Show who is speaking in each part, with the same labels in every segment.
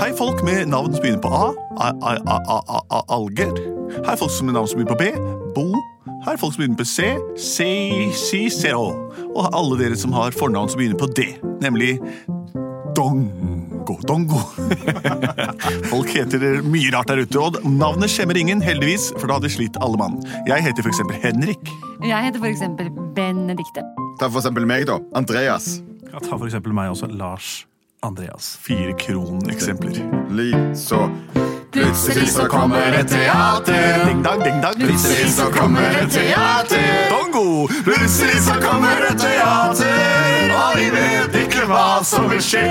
Speaker 1: Hei, folk med navn som begynner på A. A- a- a- a- a- a- Alger. Hei, folk som med navn som begynner på B. Bo. Hei, folk som begynner på C. C, C, C, O. Og alle dere som har fornavn som begynner på D, nemlig Dongo. Dongo. Folk heter mye rart der ute, og navnet skjemmer ingen, heldigvis, for da hadde slitt alle mann. Jeg heter for eksempel Henrik.
Speaker 2: Jeg heter for eksempel Benedikte.
Speaker 3: Ta for eksempel meg, da. Andreas.
Speaker 4: Ja, ta for eksempel meg også. Lars Andreas.
Speaker 1: Fire kroneksempler.
Speaker 3: Lik så Plutselig så kommer et teater.
Speaker 1: Ding dang, ding dang.
Speaker 3: Plutselig så kommer et teater.
Speaker 1: Dongo!
Speaker 3: Plutselig så kommer et teater, og vi vet ikke hva som vil skje.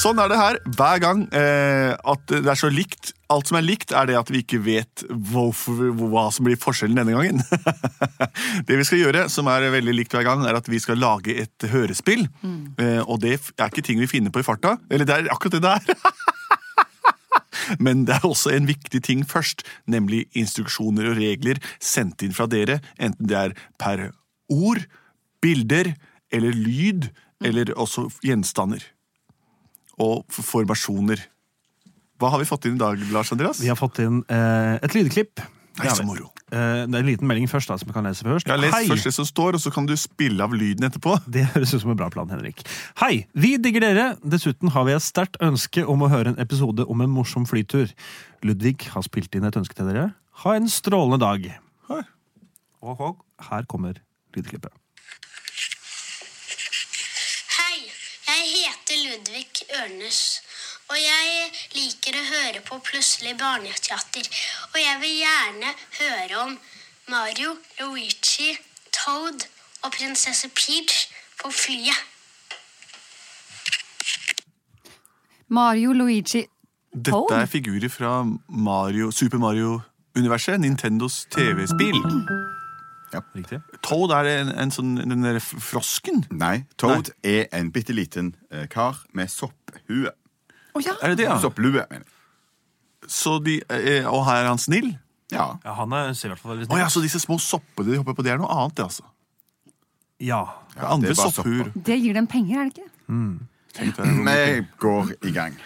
Speaker 1: Sånn er det her hver gang eh, at det er så likt. Alt som er likt, er det at vi ikke vet hvorfor, hva som blir forskjellen denne gangen. det vi skal gjøre, som er veldig likt hver gang, er at vi skal lage et hørespill. Eh, og det er ikke ting vi finner på i farta. Eller det er akkurat det det er. Men det er også en viktig ting først, nemlig instruksjoner og regler sendt inn fra dere, enten det er per ord, bilder eller lyd, eller også gjenstander. Og f- formasjoner. Hva har vi fått inn i dag, Lars Andreas?
Speaker 4: Vi har fått inn eh, et lydklipp.
Speaker 1: Nei, så moro.
Speaker 4: Eh, det er en liten melding først, da, som vi kan lese først.
Speaker 1: Jeg har lest
Speaker 4: Hei!
Speaker 1: først det som står, og så kan du spille av lyden etterpå.
Speaker 4: Det høres ut som en bra plan, Henrik. Hei! Vi digger dere! Dessuten har vi et sterkt ønske om å høre en episode om en morsom flytur. Ludvig har spilt inn et ønske til dere. Ha en strålende dag! Og og her kommer lydklippet.
Speaker 5: Hei, jeg heter Ludvig Ørnes, og jeg liker å høre på Plutselig barneteater. Og jeg vil gjerne høre om Mario, Luigi, Toad og prinsesse Peach på flyet.
Speaker 2: Mario Luigi
Speaker 1: Dette er figurer fra Mario, Super Mario-universet, Nintendos TV-spill.
Speaker 4: Riktig?
Speaker 1: Toad er en, en sånn den der f- frosken.
Speaker 3: Nei, Toad er en bitte liten eh, kar med sopphue.
Speaker 2: Å ja!
Speaker 1: Er det altså? det,
Speaker 3: Ah.
Speaker 1: ja?
Speaker 3: Sopplue, mener jeg.
Speaker 1: Så de, eh, og her er han snill?
Speaker 3: Ja.
Speaker 4: Ja, han er, ser i hvert fall veldig
Speaker 1: Å ja, så disse små soppene de hopper på, det er noe annet, det, altså.
Speaker 4: Ja.
Speaker 1: Det er andre
Speaker 3: det er bare
Speaker 1: sopphuer.
Speaker 2: Det gir dem penger, er det ikke?
Speaker 1: Tenk deg det.
Speaker 3: Vi går i gang.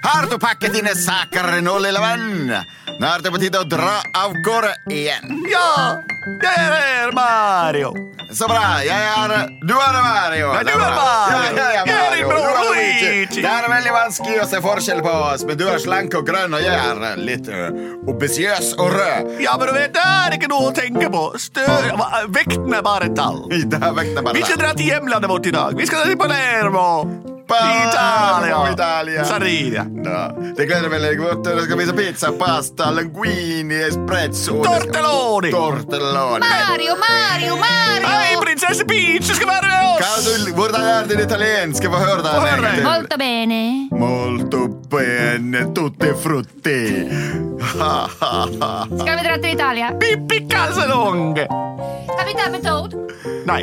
Speaker 3: Har du pakket dine saker nå, lille venn? Nå er det på tide å dra av gårde igjen.
Speaker 1: Ja! Der er Mario!
Speaker 3: Så bra. Jeg er Du er Mario.
Speaker 1: Ja, du
Speaker 3: Det
Speaker 1: er
Speaker 3: bra.
Speaker 1: Mario.
Speaker 3: Ja, jeg er
Speaker 1: Jeg er
Speaker 3: Mario.
Speaker 1: bror
Speaker 3: Du er Luigi.
Speaker 1: Luigi.
Speaker 3: Det er veldig vanskelig å se forskjell på oss, men du er slank og grønn, og jeg er eh, litt uh, obesiøs og rød.
Speaker 1: Ja, men du vet, det er ikke noe å tenke på. Stø hva- Vekten er bare et tall.
Speaker 3: I dag vekter bare
Speaker 1: Vi skal dra til hjemlandet vårt i dag. Vi skal dra til Palermo.
Speaker 3: Palermo,
Speaker 1: Italia.
Speaker 3: Italia.
Speaker 1: Sardinia.
Speaker 3: Ja, det gleder jeg meg veldig godt. Dere skal vise pizza, pasta, linguini, espresso det skal-
Speaker 1: Tortelloni.
Speaker 3: Tortelloni.
Speaker 2: Mario, Mario,
Speaker 1: Hei,
Speaker 2: Mario!
Speaker 1: prinsesse Peach, du skal være med
Speaker 3: Kan
Speaker 1: oss!
Speaker 3: du, hvordan er din italienske? Få høre den.
Speaker 1: Få høre
Speaker 3: en gang til.
Speaker 2: Molto bene.
Speaker 3: Molto bene, tutti frutti. Ha, ha, ha.
Speaker 2: Skal vi dra til Italia?
Speaker 1: Pippi Casalonge.
Speaker 2: Kan vi ta med Toad?
Speaker 1: Nei.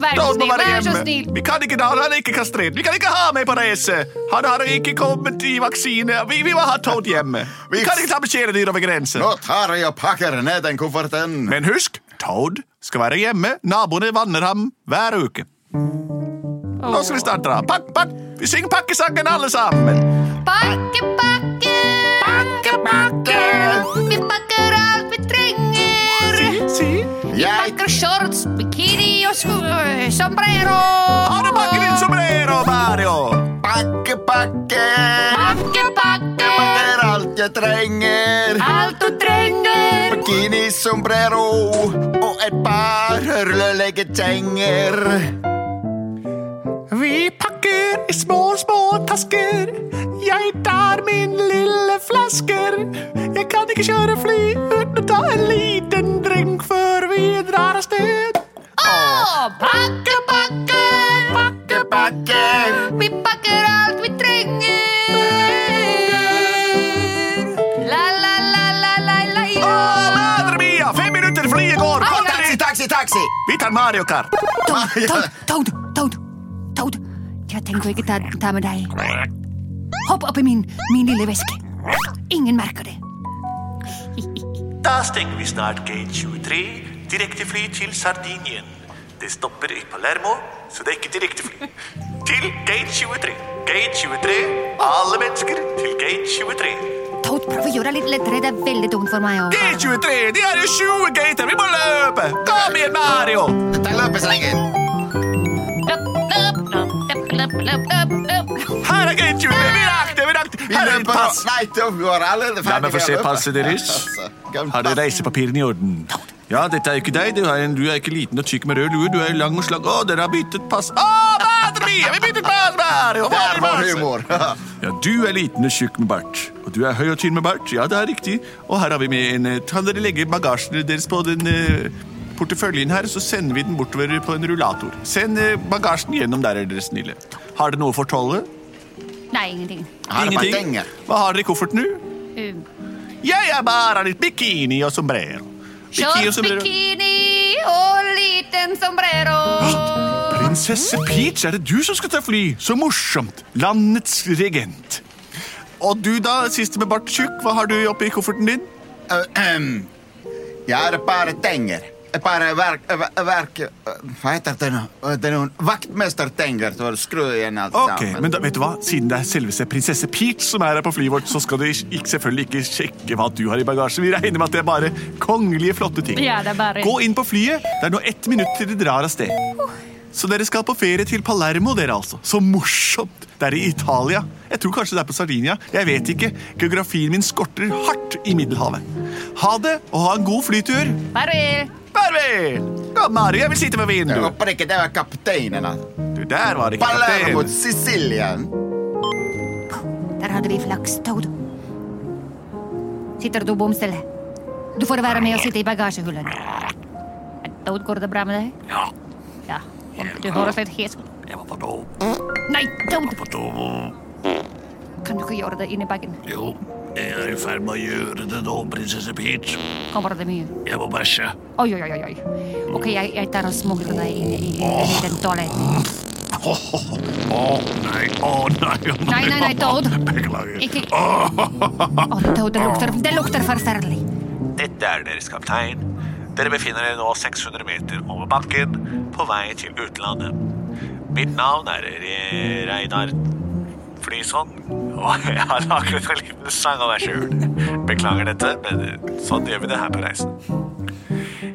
Speaker 2: Vær så
Speaker 1: Toad må
Speaker 2: snill,
Speaker 1: være
Speaker 2: vær så snill.
Speaker 1: hjemme. Vi kan ikke da, han er ikke kastrert. Vi kan ikke ha med på reise. Han har ikke kommet i vaksine. Vi, vi må ha Toad hjemme. Vi
Speaker 3: Vi-
Speaker 1: kan ikke ta med kjæledyr over grensen.
Speaker 3: Nå tar jeg og pakker ned den kofferten.
Speaker 1: Men husk, Toad skal være hjemme. Naboene vanner ham hver uke. Nå skal vi snart dra. Pakk, pakk. Vi synger pakkesangen alle sammen.
Speaker 2: Pakke, pakke. Pakke, pakke. Vi pakker alt vi trenger.
Speaker 1: Si.
Speaker 3: Jeg
Speaker 2: Pakker shorts, bikini og so- sombrero.
Speaker 1: Har du pakket din sombrero, Mario?
Speaker 3: pakker, pakker.
Speaker 2: Pakke, pakke.
Speaker 3: Det er alt jeg trenger.
Speaker 2: Alt du trenger.
Speaker 3: Bikini, sombrero og et par hørleleggetenger.
Speaker 1: Vi pakker i små, små tasker. Jeg tar min lille flasker. Jeg kan ikke kjøre fly uten å ta en liten drink før vi drar av sted.
Speaker 2: Å, pakke, pakke. Pakke,
Speaker 3: Pakker.
Speaker 2: Vi pakker alt vi trenger. La, la, la, la, la, la,
Speaker 1: Å,
Speaker 2: la.
Speaker 1: madre mia! Fem minutter, flyet går! Kom deg
Speaker 3: Ah, Taxi,
Speaker 1: dit!
Speaker 3: taxi, taxi!
Speaker 1: Vi tar Mario Kart.
Speaker 2: Toad, Toad, Toad, Toad, Toad. Jeg tenker ikke ta, ta med deg. Hopp oppi min, min lille veske. Ingen merker det.
Speaker 6: Da stenger vi snart gate 23, direktefly til Sardinien. Det stopper i Palermo, så det er ikke direktefly. til gate 23. Gate 23. Alle mennesker til gate 23.
Speaker 2: Toad, prøv å gjøre det litt lettere. Det er veldig dumt for meg. å-
Speaker 1: Det er 23! De her er 20 gater! Vi må løpe! Kom igjen, Mario!
Speaker 3: Dette er løpeslangen.
Speaker 1: Her er gate 23! Vi rakk det! vi rakk det!
Speaker 3: Vi
Speaker 1: Her er ditt
Speaker 3: løper nå.
Speaker 1: pass!
Speaker 3: Nei, da går allerede
Speaker 1: La meg få se
Speaker 3: å løpe.
Speaker 1: passet deres.
Speaker 3: Altså, gammel
Speaker 1: Har du
Speaker 3: pass.
Speaker 1: reisepapirene i orden? Ja, dette er jo ikke deg. Du er, en, du er ikke liten og tykk med rød lue. Du er lang og slag. Å, dere har byttet pass. Å, batteri! Vi byttet pass, Mario! Hva er
Speaker 3: Der
Speaker 1: det
Speaker 3: var
Speaker 1: passet?
Speaker 3: humor.
Speaker 1: Ja, du er liten og tjukk med bart. Og du er høy og tynn med bart. Ja, det er riktig. Og her har vi med en eh, Kan dere legge bagasjen deres på den eh, porteføljen her, så sender vi den bortover på en rullator. Send eh, bagasjen gjennom der, er dere snille. Har dere noe for tollet?
Speaker 2: Nei, ingenting.
Speaker 3: Her er penger.
Speaker 1: Hva har dere i kofferten nå?
Speaker 2: Um,
Speaker 1: Jeg er bare litt bikini og sombrero. Bikini og
Speaker 2: Shorts,
Speaker 1: sombrero.
Speaker 2: bikini og liten sombrero.
Speaker 1: Prinsesse Peach, er det du som skal ta fly? Så morsomt! Landets regent. Og du da, siste med bart tjukk, hva har du oppi kofferten din?
Speaker 3: Ahem. Jeg har et par penger. Et par verk... eh, ver- verk hva heter det nå? Eh, Det er noen vaktmestertenger. så Skru igjen alt
Speaker 1: Ok,
Speaker 3: sammen.
Speaker 1: men da, vet du hva? Siden det er selveste prinsesse Peach som er her på flyet vårt, så skal du ikke, selvfølgelig ikke sjekke hva du har i bagasjen. Vi regner med at det er bare kongelige, flotte ting.
Speaker 2: Ja, det er bare-
Speaker 1: Gå inn på flyet. Det er nå ett minutt til de drar av sted. Så dere skal på ferie til Palermo, dere altså. Så morsomt! Det er i Italia. Jeg tror kanskje det er på Sardinia. Jeg vet ikke. Geografien min skorter hardt i Middelhavet. Ha det, og ha en god flytur.
Speaker 2: Farvel.
Speaker 1: Farvel! Kom, Mario, jeg vil sitte ved
Speaker 3: Jeg
Speaker 1: vinduet.
Speaker 3: håper ikke det var kapteinen. altså.
Speaker 1: Du, der var det kaptein.
Speaker 3: Palermo, Sicilia.
Speaker 2: Der hadde vi flaks, Toad. Sitter du bom stille? Du får være med og sitte i bagasjehullet. Toad, går det bra med deg? Ja. Du høres litt hes ut.
Speaker 6: Jeg må på do.
Speaker 2: Nei, Toad!
Speaker 6: På do.
Speaker 2: Kan du ikke gjøre det inni bagen?
Speaker 6: Jo, jeg er i ferd med å gjøre det nå, prinsesse Peach.
Speaker 2: Kommer det mye?
Speaker 6: Jeg må bæsje.
Speaker 2: Oi, oi, oi, oi. Ok, jeg, jeg tar og smugler deg inn i, i, i den toaletten. Oh,
Speaker 6: Å nei, å nei, å
Speaker 2: Nei, nei, nei, Toad.
Speaker 6: Beklager.
Speaker 2: Ikke Å, Toad, det lukter, det lukter forferdelig.
Speaker 6: Dette er deres kaptein. Dere befinner dere nå 600 meter over bakken på vei til utlandet. Mitt navn er Re- Reinar Flyson, og jeg har laget en liten sang av meg sjøl. Beklager dette, men sånn gjør vi det her på reisen.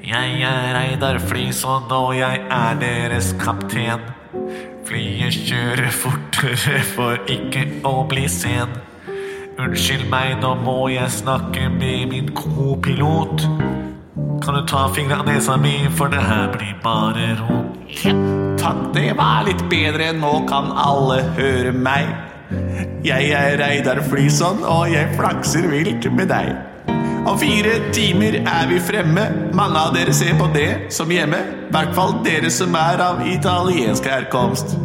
Speaker 6: Jeg er Reidar Flyson, og jeg er deres kaptein. Flyet kjører fortere for ikke å bli sen. Unnskyld meg, nå må jeg snakke med min kopilot. Kan du ta fingra av nesa mi, for det her blir bare rot.
Speaker 1: Takk, det var litt bedre. Nå kan alle høre meg. Jeg er Reidar Flyson, og jeg flakser vilt med deg. Om fire timer er vi fremme. Mange av dere ser på det som hjemme. I hvert fall dere som er av italiensk herkomst.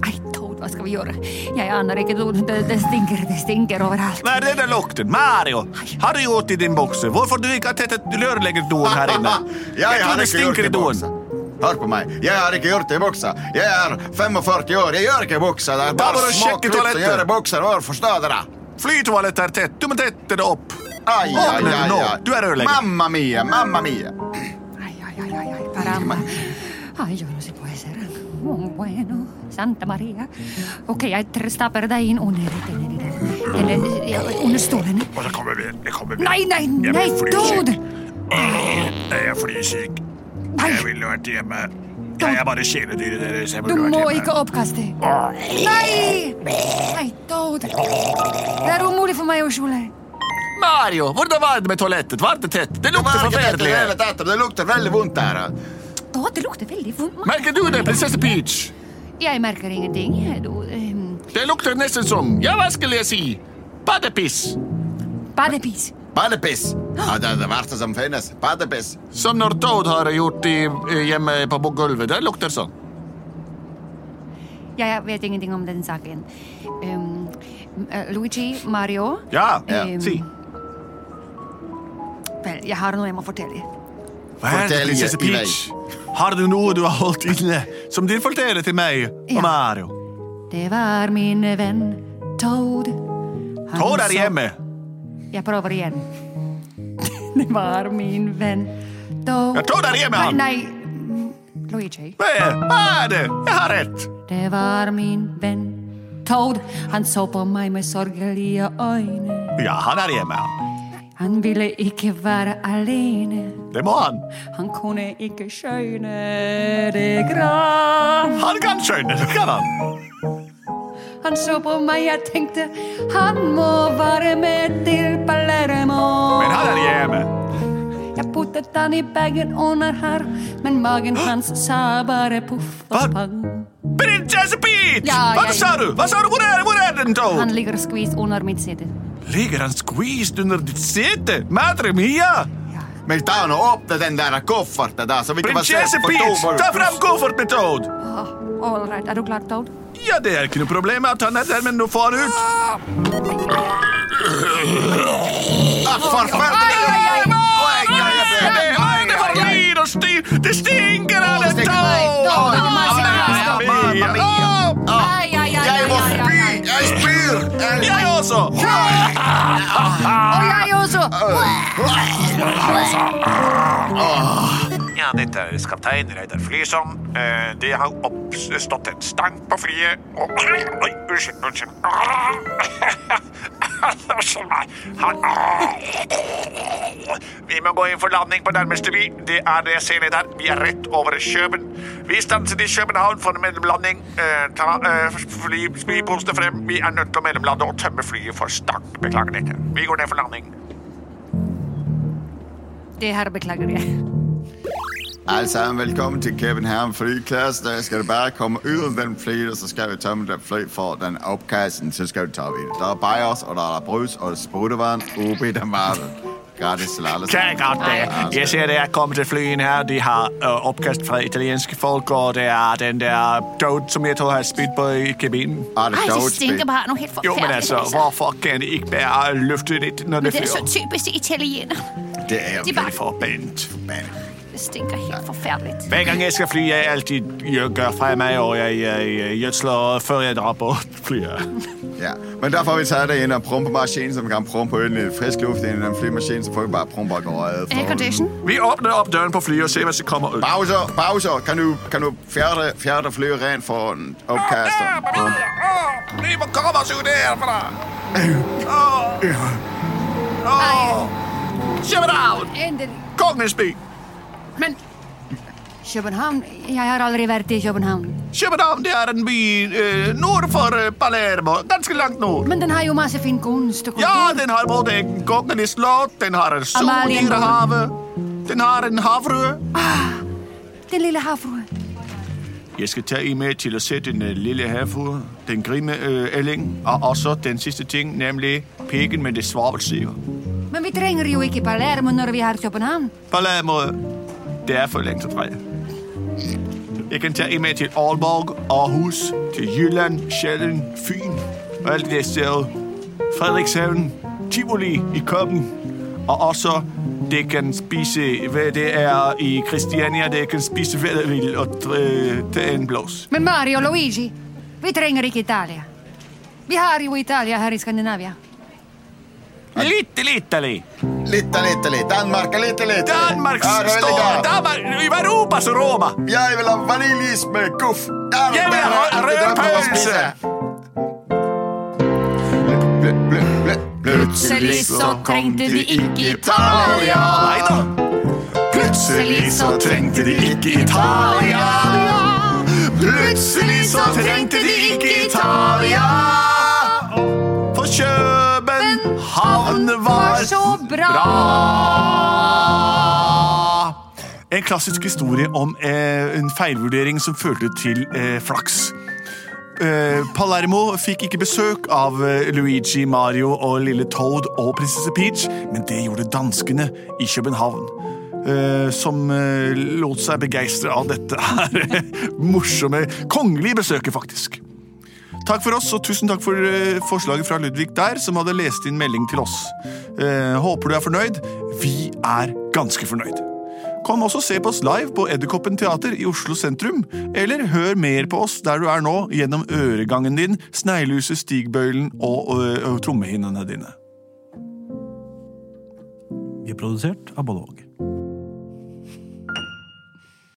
Speaker 2: Nei, Toad, hva skal vi gjøre? Jeg aner ikke, Toad. Det, det stinker, det stinker overalt.
Speaker 1: Hva er det der lukter? Mario, har du gjort i din bukse? Hvorfor du ikke har tettet rørleggerdoen her inne?
Speaker 3: Jeg
Speaker 1: tror
Speaker 3: har
Speaker 1: det
Speaker 3: ikke gjort
Speaker 1: stinker
Speaker 3: det i
Speaker 1: i doen.
Speaker 3: buksa. Hør på meg. Jeg har ikke gjort det i buksa. Jeg er 45 år. Jeg gjør ikke buksa. Det er
Speaker 1: Da må
Speaker 3: bare
Speaker 1: du
Speaker 3: små
Speaker 1: sjekke
Speaker 3: kutt som
Speaker 1: toalettet.
Speaker 3: gjør bukser vår. Forstår dere?
Speaker 1: Flytoalettet er tett. Du må tette det opp.
Speaker 3: Ai, ai,
Speaker 1: Åpne det
Speaker 3: ai,
Speaker 1: nå.
Speaker 3: ai.
Speaker 1: Du er rørlegger.
Speaker 3: Mamma mia, mamma mia.
Speaker 2: Ay, ay, ay, ay, ay, caramba. Ay, yo no sé, puede ser. Oh, bueno, Santa Maria. Ok, jeg tr- stapper deg inn under dette, nedi der. Eller ja, under stolen.
Speaker 6: Og så kommer vi igjen. Jeg kommer vi
Speaker 2: Nei, nei,
Speaker 6: Jeg
Speaker 2: nei,
Speaker 6: blir flysyk.
Speaker 2: Toad!
Speaker 6: Jeg er flysyk.
Speaker 2: Nei,
Speaker 6: Jeg ville vært hjemme. Jeg er bare kjæledyret deres. Jeg
Speaker 2: du
Speaker 6: burde
Speaker 2: må
Speaker 6: vært
Speaker 2: ikke
Speaker 6: hjemme.
Speaker 2: oppkaste. Nei! Nei, Toad. Det er umulig for meg å skjule.
Speaker 1: Mario, hvordan var det med toalettet? Var det tett? Det lukter
Speaker 3: Markedet i
Speaker 1: forferdelig.
Speaker 3: det hele tatt, Det lukter veldig vondt her.
Speaker 2: Toad, det lukter veldig vondt.
Speaker 1: Merker du det, prinsesse Peach?
Speaker 2: Jeg merker ingenting. Du, ehm,
Speaker 1: Det lukter nesten som Ja, hva skal jeg si? Badepiss.
Speaker 2: badepiss.
Speaker 3: Badepiss. Ja, det er det verste som finnes. Badepiss.
Speaker 1: Som når Toad har gjort i, eh, hjemme på gulvet. Det lukter sånn.
Speaker 2: Jeg vet ingenting om den saken. Ehm, eh, Luigi, Mario.
Speaker 1: Ja,
Speaker 3: Ja.
Speaker 2: ehm,
Speaker 1: si.
Speaker 2: Vel, jeg har noe jeg må fortelle.
Speaker 1: Hva er det,
Speaker 3: Fortell
Speaker 1: prinsesse
Speaker 3: i vei.
Speaker 1: Peach? Har du noe du har holdt inne som du forteller til meg og
Speaker 2: Ja.
Speaker 1: Mario?
Speaker 2: Det var min venn Toad. Han
Speaker 1: Toad
Speaker 2: som-
Speaker 1: er hjemme.
Speaker 2: Jeg prøver igjen. Det var min venn Toad.
Speaker 1: Ja, Toad er hjemme, han.
Speaker 2: Nei, nei. Luigi,
Speaker 1: Hva er hva er det? Jeg har rett.
Speaker 2: det var min venn Toad. Han så på meg med sorgerlige øyne.
Speaker 7: Ja, han er hjemme. han.
Speaker 2: Han ville ikke være alene.
Speaker 7: Det må han.
Speaker 2: Han kunne ikke skjønne det gram.
Speaker 7: Han kan skjønne det, kan han.
Speaker 2: Han så på meg, jeg tenkte han må være med til Palermo.
Speaker 7: Men han er hjemme.
Speaker 2: Jeg puttet han i bagen under her, men magen hans sa bare poff
Speaker 7: Hva?
Speaker 2: og pang.
Speaker 7: Prinsesse Peach!
Speaker 2: Ja,
Speaker 7: Hva
Speaker 2: jeg-
Speaker 7: sa du? Hva sa du? Hvor er, hvor er den, Toad?
Speaker 2: Han ligger skvist under mitt sete.
Speaker 7: Ligger han squeezed under ditt sete? Madre mia!
Speaker 2: Ja.
Speaker 3: Men ta nå åpne den der kofferten, da, så vi ikke får se
Speaker 7: Prinsesse
Speaker 3: på
Speaker 7: Peach,
Speaker 3: to-
Speaker 7: ta fram kofferten til Toad.
Speaker 2: Åh, all right, er du klar, Toad?
Speaker 7: Ja, det er ikke noe problem at han er der, men nå får han ut.
Speaker 3: Ah, Forferdelig!
Speaker 7: Ai, ai, ai,
Speaker 3: Oi, ja, ja,
Speaker 7: Det
Speaker 3: ja, ja,
Speaker 7: er det for
Speaker 3: ja, ja.
Speaker 7: lyd og styr! Det stinker av det,
Speaker 3: stikker meg.
Speaker 7: Toad!
Speaker 3: Toad,
Speaker 2: mamma,
Speaker 7: Å,
Speaker 3: sier jeg.
Speaker 7: mamma mia. Å,
Speaker 2: Ai, ai, ai,
Speaker 3: Jeg må
Speaker 2: ai, ai,
Speaker 3: spy!
Speaker 2: ai.
Speaker 3: Jeg spyr! Jeg-
Speaker 7: Jeg også!
Speaker 2: Og jeg også.
Speaker 1: Ja, dette er kaptein Reidar Flysom. Eh, Det har oppstått en stank på flyet. Og Oi, unnskyld, unnskyld. Unnskyld meg. Han- Vi må gå inn for landing på nærmeste by. Det er det jeg ser ned der. Vi er rett over Kjøben. Vi stanset i København for en mellomlanding. Eh, Ta eh, fly, spyposene frem. Vi er nødt til å mellomlande og tømme flyet for stank. Beklager dette. Vi går ned for landing.
Speaker 2: Det her beklager jeg.
Speaker 3: Alle sammen, velkommen til København Flyplads. Der skal du bare komme ud af den fly, og så skal vi tømme den fly for den opkassen, så skal du tage videre. Der er bajers, og der er brus, og spruttevand, ubi i den varmen. Gratis til alle
Speaker 1: Kan jeg
Speaker 3: sammen.
Speaker 1: godt det. Jeg ser, det er kommet til flyen her. De har øh, opkast fra italienske folk, og det er den der dot, som jeg tror har spydt på i kabinen.
Speaker 3: Og Ah, det
Speaker 2: Ej,
Speaker 3: er
Speaker 2: det
Speaker 3: sjovt
Speaker 2: stinker
Speaker 3: spil.
Speaker 2: bare noe helt
Speaker 1: Jo,
Speaker 2: forferdelig.
Speaker 1: men altså, hvorfor kan det ikke være løftet lidt, når det
Speaker 2: Det er så
Speaker 1: flyver?
Speaker 2: typisk italiener.
Speaker 3: Det er jo
Speaker 2: De bare-
Speaker 1: Det er forbandet.
Speaker 2: Det stinker helt forferdelig.
Speaker 1: Hver gang jeg skal fly, jeg altid jeg gør fremad, og jeg, jeg, jeg gjødsler, før jeg drar på flyet.
Speaker 3: Ja. Men der får vi taget det ind og prompemaskinen, som kan prompe ind i frisk luft ind i den flymaskine, så får vi bare prompe og gå røget. for-
Speaker 2: Aircondition.
Speaker 1: Vi åbner op døren på flyet og ser, hvad der kommer ud.
Speaker 3: Pauser, pauser. Kan du, kan du fjerde, fjerde fly rent for en opkaster?
Speaker 1: Vi må komme os ud herfra. Åh. København!
Speaker 2: Endelig.
Speaker 1: Kongens by!
Speaker 2: Men København Jeg har aldri vært i København.
Speaker 1: København det er en by øh, nord for øh, Palermo. Ganske langt nord.
Speaker 2: Men den har jo masse fin kunst og
Speaker 1: Ja,
Speaker 2: kultur.
Speaker 1: den har både en kongelig slott, den har en sol i
Speaker 2: Amalienborg.
Speaker 1: havet, den har en havfrue.
Speaker 2: Den lille havfruen.
Speaker 1: Jeg skal tage I med til at se den øh, lille havfrue, den grimme øh, ælling, og også den sidste ting, nemlig pikken med det svovelsiver.
Speaker 2: Men vi trenger jo ikke Palermo når vi har København.
Speaker 1: Palermo, det er for længe fra jer. Jeg kan tage I med til Aalborg, Aarhus, til Jylland, Sjælland, Fyn og alt det der sted. Frederikshavn, Tivoli i Køben. Og også, det kan spise, hvad det er i Christiania, det kan spise, hvad det vil, og øh, tage en blås.
Speaker 2: Men Mario og Luigi, vi trenger ikke Italia. Vi har jo Italia her i Skandinavia.
Speaker 1: Lidt, lidt, lidt.
Speaker 3: Lidt og lidt og lidt. Danmark og lidt og lidt.
Speaker 1: Danmark
Speaker 3: Ja, det er
Speaker 1: står,
Speaker 3: rigtig godt.
Speaker 1: Danmark, Europas Roma.
Speaker 3: Jeg vil ha vaniljeis med guff. Der,
Speaker 1: Jeg vil
Speaker 3: der,
Speaker 1: ha
Speaker 3: der,
Speaker 1: rød
Speaker 3: der, der, der, der,
Speaker 1: pølse.
Speaker 3: Blø, blø, blø, blø.
Speaker 2: Plutselig så trengte vi ikke Italia.
Speaker 3: Nei da. Plutselig så trengte de ikke Italia. Plutselig så trengte de ikke Italia.
Speaker 1: For København var
Speaker 2: var så bra.
Speaker 1: En klassisk historie om eh, en feilvurdering som førte til eh, flaks. Eh, Palermo fikk ikke besøk av eh, Luigi, Mario og lille Toad og prinsesse Peach, men det gjorde danskene i København. eh, som eh, lot seg begeistre av dette her morsomme kongelige besøket, faktisk. Takk for oss, og tusen takk for eh, forslaget fra Ludvig der, som hadde lest inn melding til oss. Eh, håper du er fornøyd. Vi er ganske fornøyd. Kom også og se på oss live på Edderkoppen teater i Oslo sentrum, eller hør mer på oss der du er nå, gjennom øregangen din, sneglehuset, stigbøylen og, øh, og trommehinnene dine.
Speaker 4: Vi er produsert av Bollevåg.